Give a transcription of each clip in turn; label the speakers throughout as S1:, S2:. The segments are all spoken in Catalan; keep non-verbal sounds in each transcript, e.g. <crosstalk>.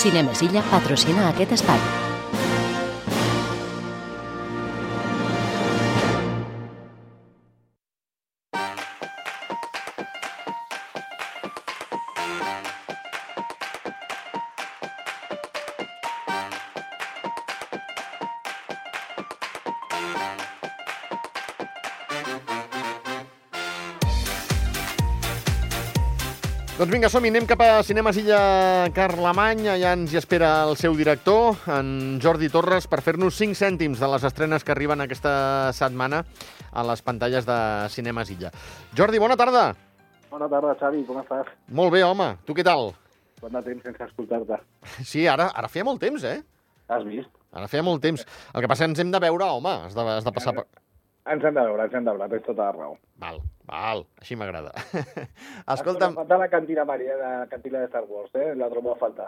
S1: Cinemesilla patrocina aquest espai.
S2: Doncs vinga, som-hi, anem cap a Cinemes Illa Carlemany. Allà ens hi espera el seu director, en Jordi Torres, per fer-nos 5 cèntims de les estrenes que arriben aquesta setmana a les pantalles de Cinemes Illa. Jordi, bona tarda.
S3: Bona tarda, Xavi, com estàs?
S2: Molt bé, home. Tu què tal?
S3: Quant de temps sense escoltar-te?
S2: Sí, ara, ara feia molt temps, eh?
S3: Has vist?
S2: Ara feia molt temps. El que passa ens hem de veure, home. Has de, has de passar per...
S3: Ens hem de veure, ens hem de veure, tens tota la raó.
S2: Val, val. Així m'agrada. Escolta'm,
S3: Falta la cantina Maria, la cantina de Star Wars, eh? La trobo a
S2: <laughs>
S3: faltar.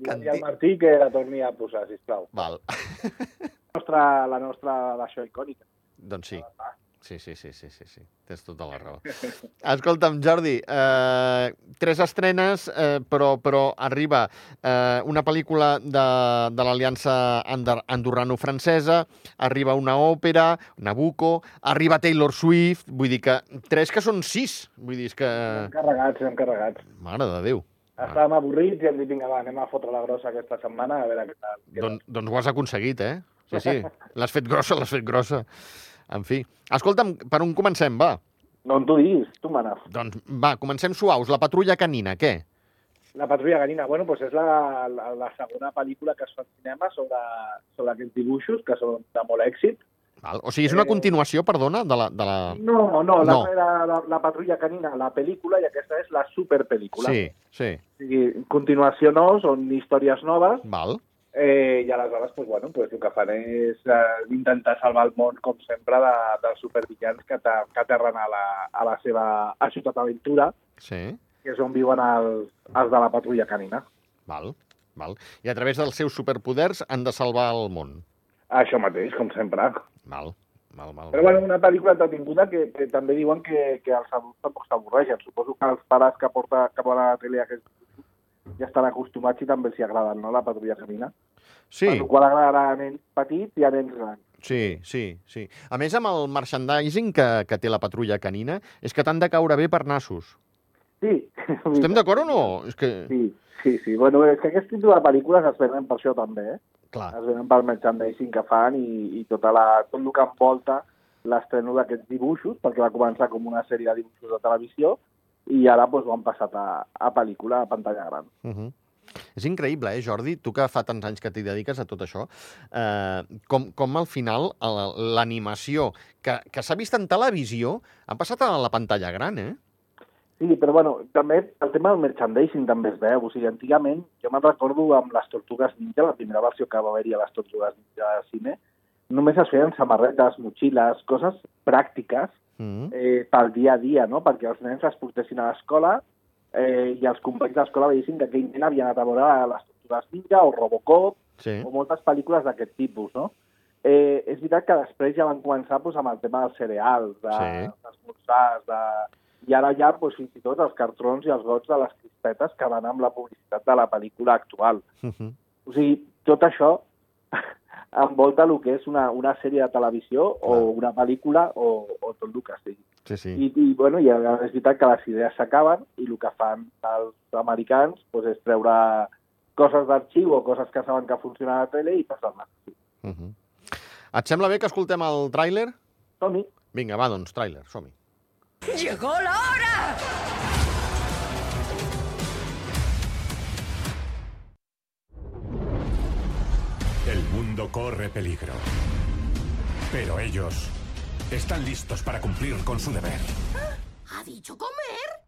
S3: Canti... I al Martí que la torni a posar, sisplau.
S2: val.
S3: La nostra, la nostra d'això icònica.
S2: Doncs sí. Sí, sí, sí, sí, sí, sí. Tens tota la raó. Escolta'm, Jordi, eh, tres estrenes, eh, però, però arriba eh, una pel·lícula de, de l'Aliança Andar- Andorrano-Francesa, arriba una òpera, Nabucco, arriba Taylor Swift, vull dir que tres que són sis, vull dir és que...
S3: Anem carregats, anem carregats.
S2: Mare de Déu. Ah.
S3: Estàvem avorrits i hem dit, vinga, va, anem a fotre la grossa aquesta setmana, a veure què tal.
S2: Don, doncs ho has aconseguit, eh? Sí, sí. L'has fet grossa, l'has fet grossa. En fi. Escolta'm, per on comencem, va?
S3: No, tu diguis, tu manes.
S2: Doncs va, comencem suaus. La patrulla canina, què?
S3: La patrulla canina, bueno, doncs és la, la, la segona pel·lícula que es fa al cinema sobre, sobre aquests dibuixos, que són de molt èxit.
S2: Val. O sigui, és una
S3: Eh,
S2: continuació, perdona, de la... De la...
S3: No, no, la,
S2: No.
S3: era la, la patrulla canina, la pel·lícula, i aquesta és la superpel·lícula.
S2: Sí, sí.
S3: O sigui, continuació nous, on històries noves,
S2: Val.
S3: eh, i aleshores, doncs, bueno, doncs, el que fan és eh, intentar salvar el món, com sempre, de, dels supervillans que, ta- que aterren a la, a la seva a Ciutat Aventura,
S2: Sí.
S3: que és on viuen els, els de la patrulla canina.
S2: Val. Val. I a través dels seus superpoders han de salvar el món.
S3: Això mateix, com sempre.
S2: Val. Val, val.
S3: Però bueno, una pel·lícula entretinguda que, que també diuen que, que els adults tampoc s'avorreixen. Suposo que els pares que, porta, que poden a la tele aquest ja estan acostumats i també els hi agraden, no?, la patrulla canina.
S2: Sí,
S3: Per la qual agradarà a nens petits i a nens grans.
S2: sí, sí, sí. A més, amb el merchandising que, que té la patrulla canina, és que t'han de caure bé per nassos.
S3: <laughs> Sí.
S2: Estem d'acord o no? És que...
S3: Sí, sí, sí. Bueno, és que aquest tipus de pel·lícules es venen per això també, eh?
S2: Clar.
S3: Es venen pel merchandising que fan i, i tota la, tot el que envolta l'estreno d'aquests dibuixos, perquè va començar com una sèrie de dibuixos de televisió i ara doncs, ho han passat a, a pel·lícula, a pantalla gran.
S2: Uh -huh. És increïble, eh, Jordi? Tu que fa tants anys que t'hi dediques a tot això, eh, com, com al final el- l'animació que, que s'ha vist en televisió ha passat a la pantalla gran, eh?
S3: Sí, però bueno, també el tema del merchandising també es veu. O sigui, antigament, jo me'n recordo amb les Tortugues Ninja, la primera versió que va haver-hi a les Tortugues Ninja de cine, només es feien samarretes, motxilles, coses pràctiques
S2: Mm -hmm.
S3: eh, pel dia a dia, no? Perquè els nens les portessin a l'escola eh, i els companys d'escola veiessin que aquell nen havia anat a veure les Tortugues Ninja o Robocop
S2: Sí,
S3: o moltes pel·lícules d'aquest tipus, no? Eh, és veritat que després ja van començar pues, amb el tema dels cereals, de,
S2: Sí.
S3: sí. dels morsars, de... i ara ja pues, fins i tot els cartrons i els gots de les crispetes que van amb la publicitat de la pel·lícula actual.
S2: uh -huh.
S3: O sigui, tot això <laughs> envolta el que és una, una sèrie de televisió o
S2: Clar.
S3: una pel·lícula o, o tot el que sigui.
S2: sí, sí.
S3: I, i, bueno, i és veritat que les idees s'acaben i el que fan els americans pues, és treure coses d'arxiu o coses que saben que funcionen a la tele i passar-les.
S2: Uh -huh. Et sembla bé que escoltem el tràiler?
S3: Som-hi.
S2: Vinga, va, doncs, tràiler, som-hi.
S4: ¡Llegó la hora!
S5: El mundo corre peligro. Pero ellos están listos para cumplir con su deber.
S4: ¿Ha dicho comer?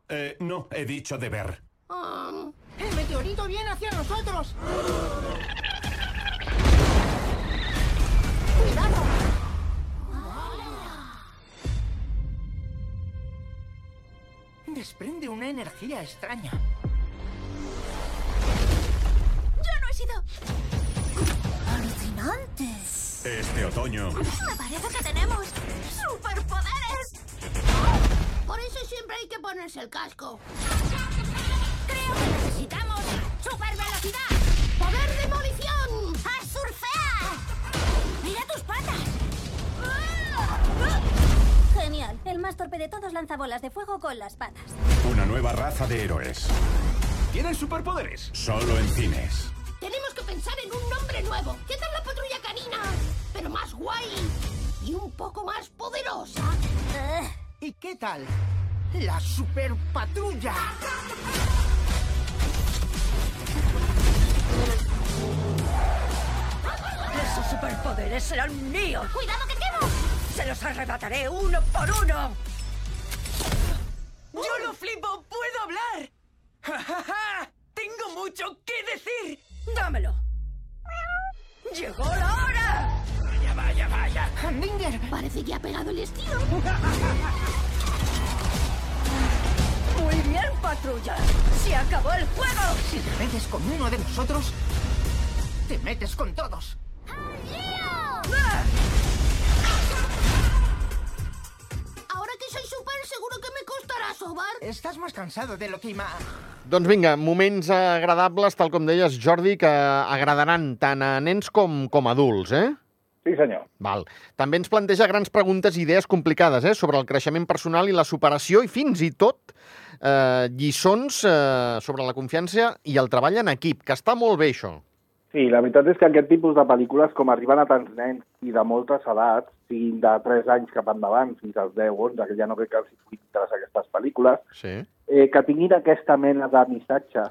S5: Eh, no, he dicho deber.
S4: Am, el ¡Eh, meteorito viene hacia nosotros. ¡Cuidado!
S6: Desprende una energía extraña.
S4: ¡Yo no he sido! ¡Alucinantes!
S5: Este otoño,
S4: Me parece que tenemos superpoderes. Por eso siempre hay que ponerse el casco. Creo que necesitamos supervelocidad. de todos lanzabolas de fuego con las patas.
S5: Una nueva raza de héroes.
S6: Tienen superpoderes.
S5: Solo en cines.
S7: Tenemos que pensar en un nombre nuevo. ¿Qué tal la patrulla canina? Pero más guay y un poco más poderosa.
S4: Ugh.
S6: ¿Y qué tal? La superpatrulla.
S8: Esos superpoderes serán míos.
S4: ¡Cuidado que quemo!
S8: Se los arrebataré uno por uno. ¡Yo lo flipo! ¡Puedo hablar! ¡Ja, ja, ja! ¡Tengo mucho que decir! ¡Dámelo! ¡Llegó la hora!
S6: Vaya, vaya, vaya.
S8: ¡Hamdinger!
S7: Parece que ha pegado el estilo.
S8: ¡Muy bien, patrulla! ¡Se acabó el juego!
S6: Si te metes con uno de nosotros, te metes con todos.
S8: ¡Ah!
S7: Ahora que soy super, seguro que me costará sobar.
S6: Estás más cansado de lo que ima...
S2: Doncs vinga, moments agradables, tal com deies, Jordi, que agradaran tant a nens com, com a adults, eh?
S3: Sí, senyor.
S2: Val. També ens planteja grans preguntes i idees complicades eh, sobre el creixement personal i la superació i fins i tot eh, lliçons eh, sobre la confiança i el treball en equip, que està molt bé això.
S3: Sí, la veritat és que aquest tipus de pel·lícules, com arriben a tants nens i de moltes edats, siguin de 3 anys cap endavant, fins als 10 o 11, que ja no crec que els hi pugui interessar aquestes pel·lícules,
S2: Sí.
S3: eh, que tinguin aquesta mena de missatges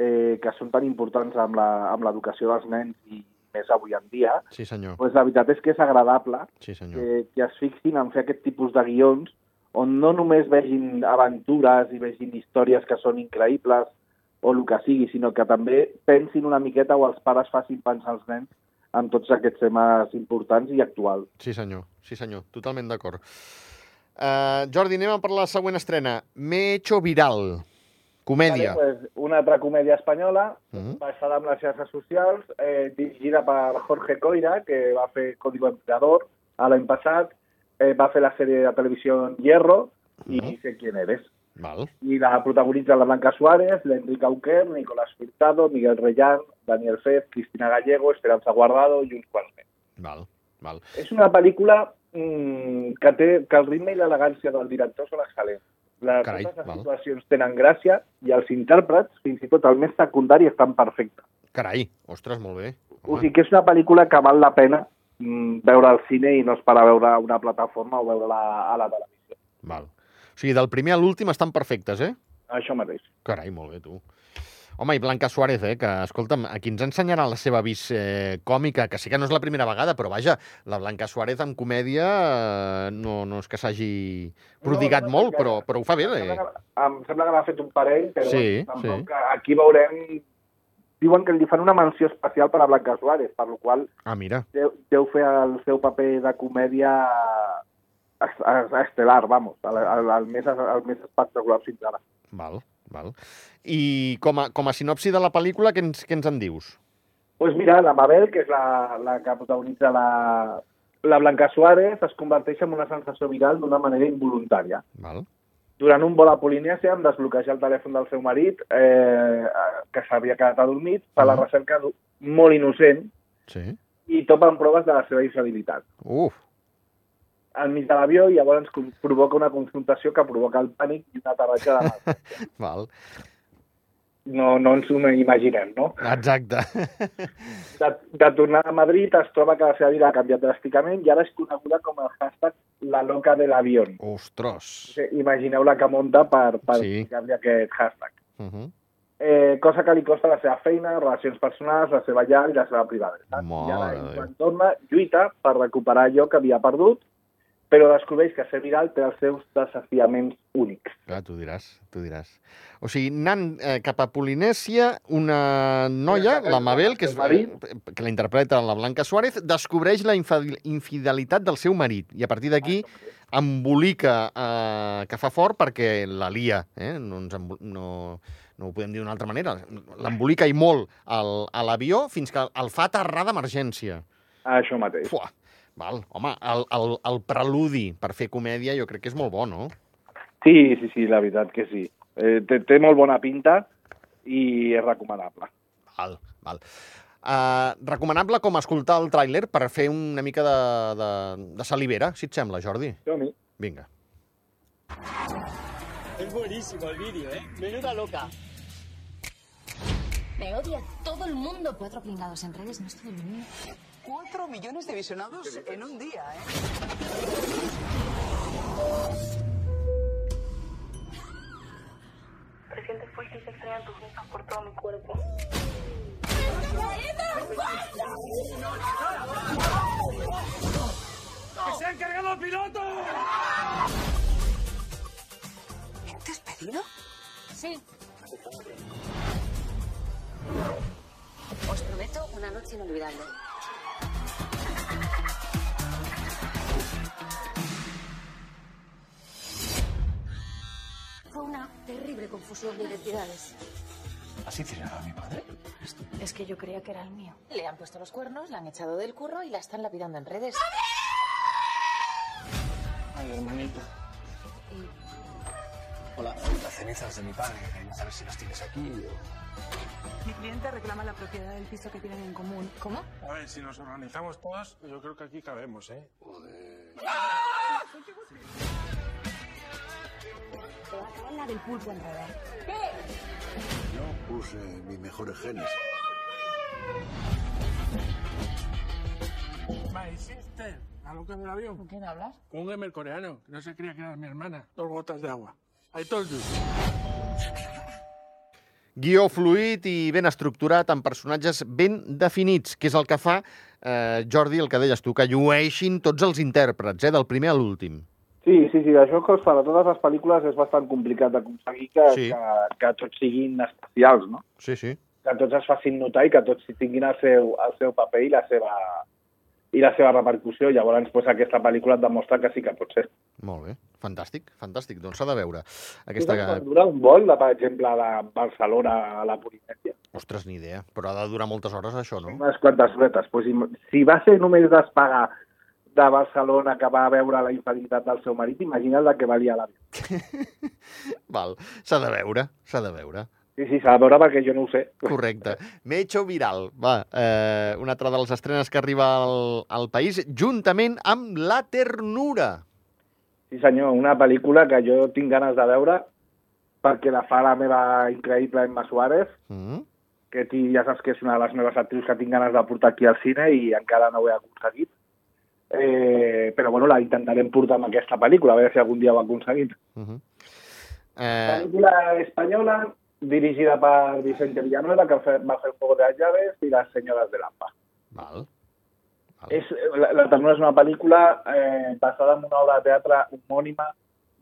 S3: eh, que són tan importants amb la- amb l'educació dels nens i més avui en dia,
S2: Sí, senyor.
S3: doncs la veritat és que és agradable
S2: Sí, senyor.
S3: que, que es fixin en fer aquest tipus de guions on no només vegin aventures i vegin històries que són increïbles o el que sigui, sinó que també pensin una miqueta o els pares facin pensar als nens en tots aquests temes importants i actuals.
S2: Sí, senyor. Sí, senyor. Totalment d'acord. Uh, Jordi, anem a per la següent estrena. Me he hecho viral. Comèdia.
S3: Vale, pues, una altra comèdia espanyola
S2: Mhm.
S3: basada en les xarxes socials, eh, dirigida per Jorge Coira, que va fer Código Emperador a l'any passat, eh, va fer la sèrie de televisió Hierro i
S2: Mhm.
S3: sé quién eres.
S2: Val.
S3: Y la protagoniza la Blanca Suárez, la Enrique Auquer, Nicolás Furtado, Miguel Reyán, Daniel Fez, Cristina Gallego, Esperanza Guardado i uns quants més.
S2: Val. Val.
S3: És una pel·lícula mm, que, té, que el ritme i l'elegància del director són excel·lents. Les,
S2: Carai,
S3: totes les
S2: val.
S3: situacions tenen gràcia i els intèrprets, fins i tot el més secundari, estan perfectes.
S2: Carai. Ostres, molt bé.
S3: O
S2: Home.
S3: sigui que és una pel·lícula que val la pena mm, veure al cine i no esperar a veure a una plataforma o veure-la a la televisió.
S2: Val. O sigui, del primer a l'últim estan perfectes, eh?
S3: Això mateix.
S2: Carai, molt bé, tu. Home, i Blanca Suárez, eh, que, escolta'm, aquí ens ensenyarà la seva vis eh, còmica, que sí que no és la primera vegada, però vaja, la Blanca Suárez en comèdia eh, no, no és que s'hagi prodigat
S3: No, no,
S2: molt,
S3: perquè-
S2: però, però ho fa bé,
S3: Em
S2: eh?
S3: sembla que- Em sembla que n'ha fet un parell, però
S2: Sí,
S3: tampoc
S2: sí.
S3: aquí veurem... Diuen que li fan una menció especial per a Blanca Suárez, per la qual
S2: Ah, mira,
S3: deu, deu fer el seu paper de comèdia es- es- estel·lar, vamos, el, el, el, més, el més espectacular fins ara.
S2: val, val. I com a, com a sinopsi de la pel·lícula, què ens, què ens en dius?
S3: Doncs pues mira, la Mabel, que és la, la que protagonitza la, la Blanca Suárez, es converteix en una sensació viral d'una manera involuntària.
S2: Val,
S3: Durant un vol a Polinèsia, em desbloqueja el telèfon del seu marit, eh, que s'havia quedat adormit, per la
S2: Mhm.
S3: recerca d'un- molt innocent
S2: sí.
S3: i topa amb proves de la seva infidelitat.
S2: Uf,
S3: Enmig de l'avió, llavors com- provoca una confrontació que provoca el pànic i una aterratge de mal.
S2: val,
S3: No, no ens ho imaginem, no?
S2: exacte. <laughs>
S3: De, de tornar a Madrid es troba que la seva vida ha canviat dràsticament i ara és coneguda com el hashtag la loca de l'avió.
S2: Ostres.
S3: Imagineu la que munta per, per
S2: Sí.
S3: ficar-li aquest hashtag.
S2: Uh -huh.
S3: eh, cosa que li costa la seva feina, relacions personals, la seva llar i la seva privada.
S2: Mare
S3: I ara,
S2: de Déu.
S3: quan torna, lluita per recuperar allò que havia perdut, però descobreix que ser viral té els seus desafiaments únics.
S2: Clar, tu Ah, diràs, tu diràs. O sigui, anant eh, cap a Polinèsia, una noia, la Mabel, que, és, eh, que la interpreta la Blanca Suárez, descobreix la infidel- infidelitat del seu marit i a partir d'aquí embolica eh, que fa fort perquè la lia. Eh? No, ens embo- no, no ho podem dir d'una altra manera. L'embolica i molt al, a l'avió fins que el fa aterrar d'emergència.
S3: Això mateix.
S2: Fuà! Val, home, el, el, el preludi per fer comèdia jo crec que és molt bo, no?
S3: Sí, sí, sí, la veritat que sí. Eh, té, té molt bona pinta i és recomanable.
S2: Val, val. Uh, recomanable com escoltar el tràiler per fer una mica de, de, de salivera, si et sembla, Jordi.
S3: Som-hi.
S2: Vinga.
S9: Es buenísimo el vídeo, ¿eh? Menuda loca.
S7: Me odia todo el mundo. Cuatro pringados en redes no es todo el mundo.
S6: Cuatro millones de visionados en un día, ¿eh?
S10: Presiento fuerza y se extrañan tus besos por todo mi cuerpo.
S9: ¡Que se han cargado al piloto!
S6: ¿Te has pedido?
S7: Sí. Os prometo una noche inolvidable. Fue una terrible confusión de identidades.
S9: ¿Así tiraba mi padre?
S10: Es que yo creía que era el mío.
S7: Le han puesto los cuernos, la han echado del curro y la están lapidando en redes.
S9: Ay, hermanito. Hola. Las cenizas de mi padre. Queríamos saber si las tienes aquí
S10: Mi cliente reclama la propiedad del piso que tienen en común. ¿Cómo?
S5: A ver, si nos organizamos todos, yo creo que aquí cabemos, ¿eh?
S10: Te va a caer la del pulpo en realidad.
S9: Yo puse mis mejores genes.
S11: My sister, la loca del avión.
S10: ¿Con quién hablas?
S11: Con un gamer coreano, que no se creía que era mi hermana. Dos gotas de agua. I told you.
S2: Guió fluid i ben estructurat, amb personatges ben definits, que és el que fa, eh, Jordi, el que deies tu, que llueixin tots els intèrprets, eh, del primer a l'últim.
S3: Sí, sí, sí, això que per a totes les pel·lícules és bastant complicat d'aconseguir que,
S2: Sí.
S3: sí. que, que tots siguin especials, no?
S2: Sí, sí.
S3: Que tots es facin notar i que tots tinguin el seu, el seu paper i la seva, i la seva repercussió. Llavors, doncs, aquesta pel·lícula et demostra que sí que pot ser.
S2: Molt bé. Fantàstic, fantàstic. Doncs s'ha de veure. Aquesta...
S3: Quan dura un vol, de, per exemple, de Barcelona a la Polinèsia?
S2: Ostres, ni idea. Però ha de durar moltes hores, això, no?
S3: Unes quantes horetes. Pues, im- si va ser només despagar de Barcelona que va veure la infelicitat del seu marit, imagina't la que valia l'avió.
S2: Val. S'ha de veure, s'ha de veure.
S3: Sí, sí, s'ha de veure perquè jo no ho sé.
S2: Correcte. Me hecho viral, va. Eh, una altra de les estrenes que arriba al, al país, juntament amb La ternura.
S3: Sí, senyor, una pel·lícula que jo tinc ganes de veure perquè la fa la meva increïble Emma Suárez,
S2: Mm?
S3: que ti- ja saps que és una de les meves actrius que tinc ganes de portar aquí al cine i encara no ho he aconseguit. Eh, però bueno, la intentarem portar amb aquesta pel·lícula, a veure si algun dia ho aconseguim.
S2: Uh -huh. eh,
S3: Pel·lícula espanyola dirigida per Vicente Villanueva, que fe- va fer un poco de las llaves, i Las senyores de l'Ampa.
S2: val.
S3: És, la, la Ternura és una pel·lícula eh, basada en una obra de teatre homònima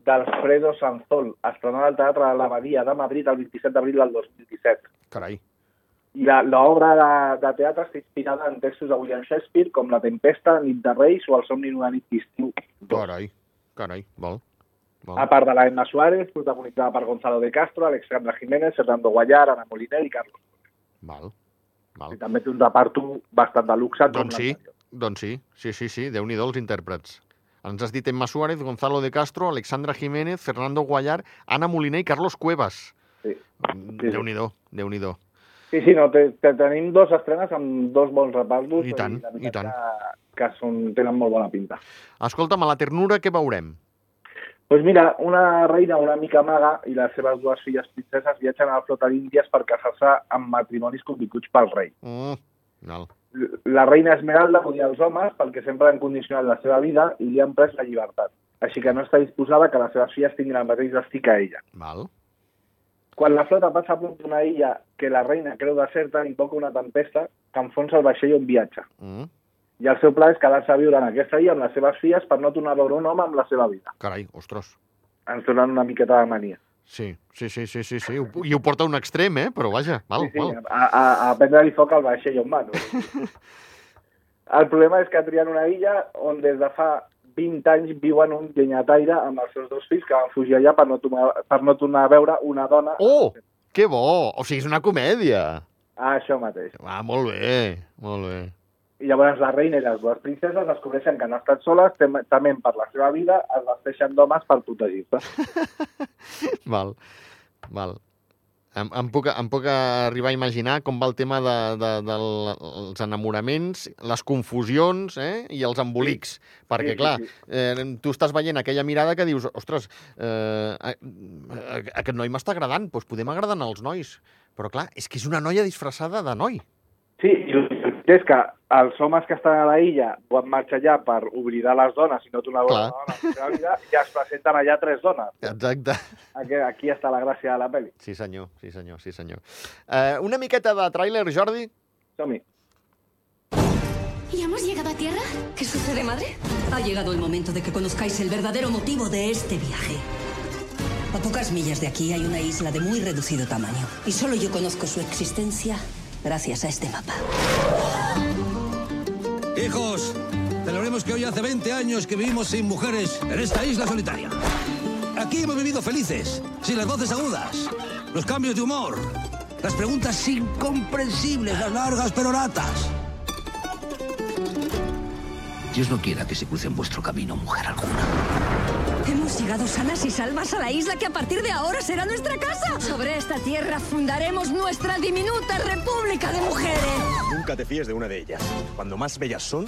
S3: d'Alfredo Sanzol, estrenada al Teatre de l'Abadia de Madrid el 27 d'abril del 2017.
S2: Carai.
S3: I la- l'obra de, de teatre està inspirada en textos de William Shakespeare com La tempesta, Nit de Reis o El somni d'una nit d'estiu.
S2: Carai. Carai. Val. val.
S3: A part de la Emma Suárez, protagonitzada per Gonzalo de Castro, Alexandra Jiménez, Fernando Guayar, Ana Moliner i Carlos.
S2: Val. Val.
S3: I també té un reparto bastant de luxe. com
S2: Doncs sí, doncs sí, sí, sí, sí, déu nhi els intèrprets. Ens has dit Emma Suárez, Gonzalo de Castro, Alexandra Jiménez, Fernando Guayar, Ana Moliner i Carlos Cuevas. Mm,
S3: Sí. Sí, sí.
S2: Déu-n'hi-do, déu nhi déu
S3: Sí, sí, no, te, te, tenim dos estrenes amb dos bons repartos.
S2: I tant,
S3: la
S2: i
S3: veritat
S2: tant.
S3: Que, que són, tenen molt bona pinta.
S2: Escolta'm, a la ternura què veurem?
S3: Doncs pues mira, una reina una mica maga i les seves dues filles princeses viatgen a la flota d'Índies per casar-se amb matrimonis convinguts pel rei.
S2: Mm. Val.
S3: L- La reina Esmeralda odia els homes perquè sempre han condicionat la seva vida i li han pres la llibertat. Així que no està disposada que les seves filles tinguin el mateix destí que ella.
S2: Val.
S3: Quan la flota passa a prop d'una illa que la reina creu deserta, invoca una tempesta que enfonsa el vaixell on viatja.
S2: Mm.
S3: i el seu pla és quedar-se a viure en aquesta illa amb les seves filles per no tornar a veure un home amb la seva vida.
S2: Carai, ostres.
S3: Ens donen una miqueta de mania.
S2: Sí, sí, sí, sí, sí, sí. Ho- I ho porta a un extrem, eh? Però vaja, val,
S3: Sí, sí,
S2: val.
S3: a, a, a prendre-li foc al vaixell on van.
S2: <laughs>
S3: El problema és que trien una illa on des de fa 20 anys viuen un llenyataire amb els seus dos fills que van fugir allà per no, tomar, per no tornar a veure una dona.
S2: Oh, que bo! O sigui, és una comèdia.
S3: A això mateix.
S2: Ah, molt bé, molt bé.
S3: I llavors la reina i les dues princeses descobreixen que han estat soles, tem tement per la seva vida, es vesteixen d'homes per protegir-se.
S2: Val, val. Em, em, puc, em puc arribar a imaginar com va el tema dels de, de, dels enamoraments, les confusions eh? i els embolics. Perquè,
S3: sí,
S2: clar,
S3: sí.
S2: eh, tu estàs veient aquella mirada que dius ostres, eh, a- a- aquest noi m'està agradant, doncs podem agradar als nois. Però, clar, és que és una noia disfressada de noi.
S3: Sí, i el que és que els homes que estan a la illa van marxar allà per oblidar les dones i no tornar a veure
S2: Clar.
S3: la dona en la seva vida i es presenten allà tres dones.
S2: Exacte.
S3: Aquí, aquí està la gràcia de la pel·li.
S2: Sí, senyor, sí, senyor, sí, senyor. Eh, una miqueta de tràiler, Jordi?
S3: Som-hi.
S12: ¿Y hemos llegado a tierra? ¿Qué sucede, madre? Ha llegado el momento de que conozcáis el verdadero motivo de este viaje. A pocas millas de aquí hay una isla de muy reducido tamaño. Y solo yo conozco su existencia gracias a este mapa.
S13: Hijos, celebremos que hoy hace 20 años que vivimos sin mujeres en esta isla solitaria. Aquí hemos vivido felices, sin las voces agudas, los cambios de humor, las preguntas incomprensibles, las largas peroratas. Dios no quiera que se cruce en vuestro camino mujer alguna.
S14: Hemos llegado sanas y salvas a la isla que a partir de ahora será nuestra casa. Sobre esta tierra fundaremos nuestra diminuta república de mujeres.
S15: Nunca te fíes de una de ellas. Cuando más bellas son,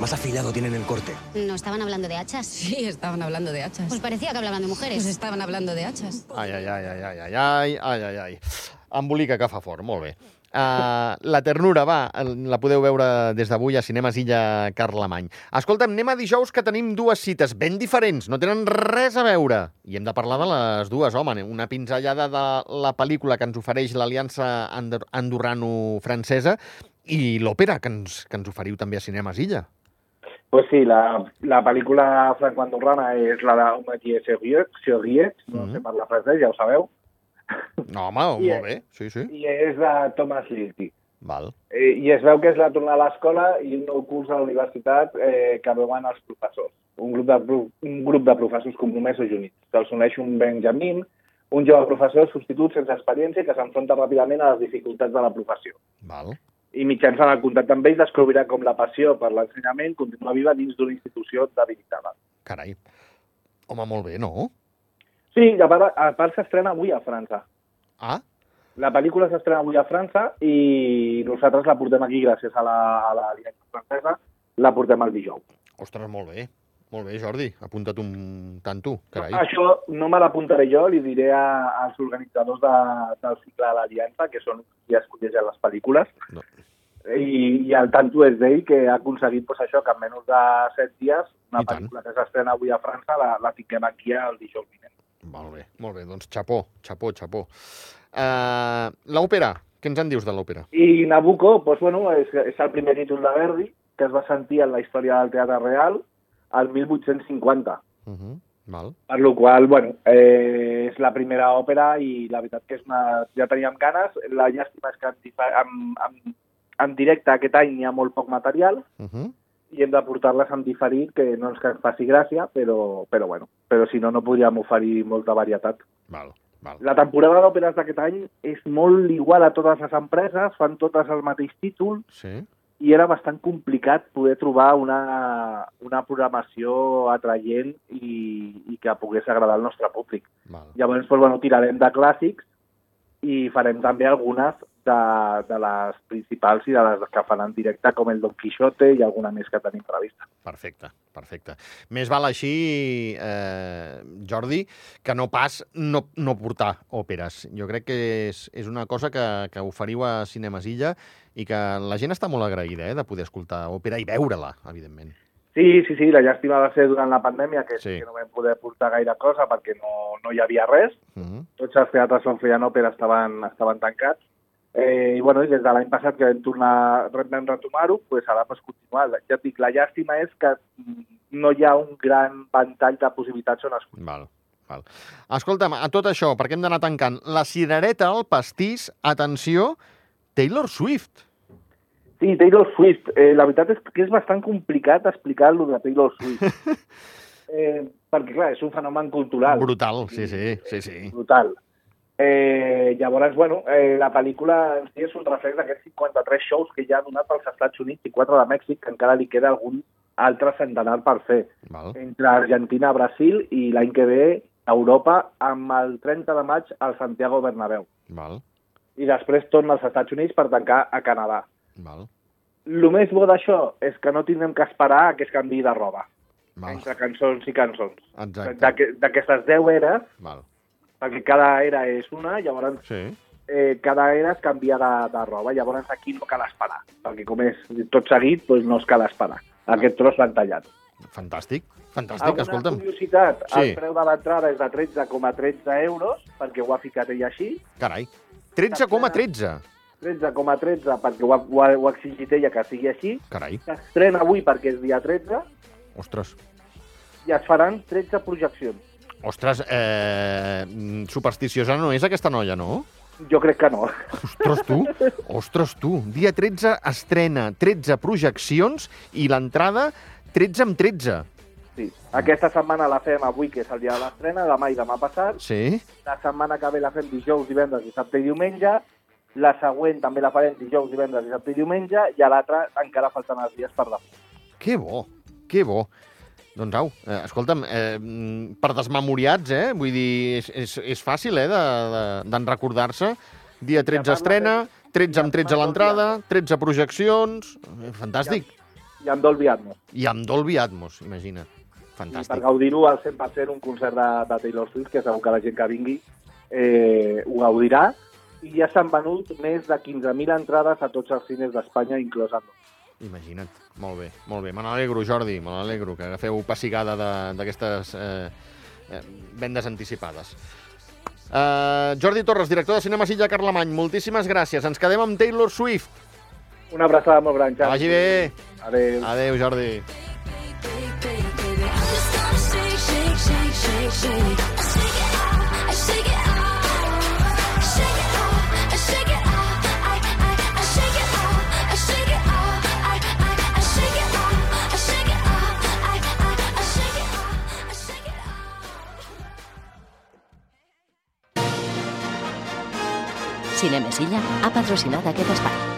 S15: más afilado tienen el corte.
S16: ¿No estaban hablando de hachas? Sí, estaban hablando de hachas. Pues parecía que hablaban de mujeres. Pues estaban hablando de hachas.
S2: Ai, ai, ai, ai, ai, ai, ai, ai, ai, ai. Embolica que fa fort, molt bé. Uh, la ternura, va, la podeu veure des d'avui a Cinemes Illa Carlemany. Escolta'm, anem a dijous que tenim dues cites ben diferents, no tenen res a veure. I hem de parlar de les dues, home, una pinzellada de la pel·lícula que ens ofereix l'Aliança Andor- Andorrano-Francesa i l'òpera que, ens, que ens oferiu també a Cinemes Illa.
S3: Pues sí, la, la pel·lícula franco-andorrana és la de Un métier sérieux, sérieux, no
S2: Mhm.
S3: sé parlar francès, ja ho sabeu,
S2: No, home,
S3: I-
S2: molt bé, sí, sí.
S3: i és de Thomas Lilty.
S2: Val.
S3: Eh, I es veu que és la tornada a l'escola i un nou curs a la universitat eh, que veuen els professors. Un grup de, pro- un grup de professors compromesos i units. Se'ls uneix un Benjamin, un jove professor substitut sense experiència que s'enfronta ràpidament a les dificultats de la professió.
S2: Val.
S3: I mitjançant el contacte amb ells descobrirà com la passió per l'ensenyament continua viva dins d'una institució debilitada.
S2: Carai. Home, molt bé, no?
S3: Sí, i a part, a part s'estrena avui a França.
S2: Ah?
S3: La pel·lícula s'estrena avui a França i nosaltres la portem aquí gràcies a la, a la direcció francesa, la portem el dijous.
S2: Ostres, molt bé. Molt bé, Jordi. Apunta't un tanto, carai.
S3: Això no me l'apuntaré jo, li diré a, als organitzadors de, del cicle de l'Aliança, que són qui escolleixen les pel·lícules,
S2: No.
S3: i, i el tanto és d'ell que ha aconseguit pues, això, que en menys de set dies
S2: I
S3: una
S2: tant.
S3: pel·lícula que s'estrena avui a França la, la tinguem aquí el dijous vinent.
S2: Molt bé, molt bé. Doncs xapó, xapó, xapó. Uh, l'òpera, què ens en dius de l'òpera?
S3: I Nabucco, pues, bueno, és, és el primer títol de Verdi que es va sentir en la història del Teatre Real al 1850.
S2: Uh -huh. Val.
S3: Per la qual bueno, eh, és la primera òpera i la veritat que és una... ja teníem ganes. La llàstima és que en, difa- en, en, en directe aquest any hi ha molt poc material
S2: Uh -huh.
S3: i hem de portar-les en diferit, que no ens que ens faci gràcia, però, però bueno, però si no, no podríem oferir molta varietat.
S2: Val, val.
S3: La temporada d'òperes d'aquest any és molt igual a totes les empreses, fan totes el mateix títol,
S2: Sí?
S3: i era bastant complicat poder trobar una, una programació atraient i, i que pogués agradar al nostre públic.
S2: Val.
S3: Llavors, doncs, bueno, tirarem de clàssics i farem també algunes de, de les principals i de les que fan en directe, com el Don Quixote i alguna més que tenim prevista.
S2: Perfecte, perfecte. Més val així, eh, Jordi, que no pas no, no portar òperes. Jo crec que és, és una cosa que, que oferiu a Cinemes Illa i que la gent està molt agraïda eh, de poder escoltar òpera i veure-la, evidentment.
S3: Sí, sí, sí, la llàstima va ser durant la pandèmia que,
S2: Sí.
S3: sí. que no vam poder portar gaire cosa perquè no, no hi havia res.
S2: Mhm.
S3: Tots els teatres on feien òpera estaven, estaven tancats. Eh, I bueno, i des de l'any passat que vam, tornar, vam retomar-ho, pues ara pues, continuar. Ja et dic, la llàstima és que mm, no hi ha un gran ventall de possibilitats on escollir.
S2: Val, val. Escolta'm, a tot això, perquè hem d'anar tancant, la cirereta, el pastís, atenció, Taylor Swift.
S3: Sí, Taylor Swift. Eh, la veritat és que és bastant complicat explicar lo de Taylor Swift. <laughs> eh, perquè, clar, és un fenomen cultural.
S2: Brutal, Oh, sí, sí, sí, sí.
S3: Eh, Brutal. Eh, llavors, bueno, eh, la pel·lícula en si és un reflex d'aquests 53 shows que ja ha donat als Estats Units i 4 de Mèxic, que encara li queda algun altre centenar per fer.
S2: Val.
S3: Entre Argentina, Brasil i l'any que ve Europa amb el 30 de maig al Santiago Bernabéu.
S2: Val.
S3: i després torna als Estats Units per tancar a Canadà.
S2: Val.
S3: El més bo d'això és que no tindrem que esperar a que es canviï de roba.
S2: Val.
S3: Entre cançons i cançons.
S2: Exacte.
S3: D'aqu- D'aquestes 10 eres,
S2: Val.
S3: perquè cada era és una, llavors
S2: Sí.
S3: eh, cada era es canvia de, de roba, llavors aquí no cal esperar, perquè com és tot seguit, doncs no es cal esperar.
S2: Ah.
S3: Aquest tros l'han tallat.
S2: Fantàstic. Fantàstic,
S3: Alguna
S2: escolta'm.
S3: curiositat,
S2: Sí.
S3: el preu de l'entrada és de 13,13 euros, perquè ho ha ficat ell així,
S2: Carai. 13,13.
S3: 13,13 perquè ho ha, ho ha, ho ha exigit ella que sigui així,
S2: Carai.
S3: s'estrena avui perquè és dia 13
S2: Ostres.
S3: i es faran 13 projeccions.
S2: Ostres, eh, mm, supersticiosa no és aquesta noia, no?
S3: Jo crec que no. <laughs>
S2: Ostres, tu. Ostres, tu. Dia 13 estrena 13 projeccions i l'entrada 13 amb 13.
S3: Sí. Aquesta setmana la fem avui, que és el dia de l'estrena, demà i demà passat.
S2: Sí?
S3: La setmana que ve la fem dijous, divendres, dissabte i diumenge. La següent també la farem dijous, divendres, dissabte i diumenge. I a l'altra encara falten els dies per demà.
S2: Que bo, que bo. Doncs au, eh, escolta'm, eh, mm, per desmemoriats, eh? Vull dir, és, és, és fàcil, eh, d'en de, d'en recordar-se. Dia 13 estrena, 13 amb 13 a l'entrada, 13 projeccions... Eh, Fantàstic.
S3: I amb Dolby Atmos.
S2: I amb Dolby Atmos, imagina't.
S3: I per
S2: Fantàstic.
S3: gaudir-ho al 100% un concert de, de Taylor Swift, que segur que la gent que vingui eh, ho gaudirà. I ja s'han venut més de 15.000 entrades a tots els cines d'Espanya, inclòs en
S2: Imagina't. Molt bé, molt bé. Me n'alegro, Jordi, me n'alegro que agafeu pessigada de- d'aquestes eh, eh, vendes anticipades. Uh, Jordi Torres, director de Cinema Silla Carlemany, moltíssimes gràcies. Ens quedem amb Taylor Swift.
S3: Una abraçada molt gran,
S2: Que vagi bé.
S3: Adéu.
S2: Adéu, Jordi.
S1: Cinemesilla ha patrocinat aquest espai.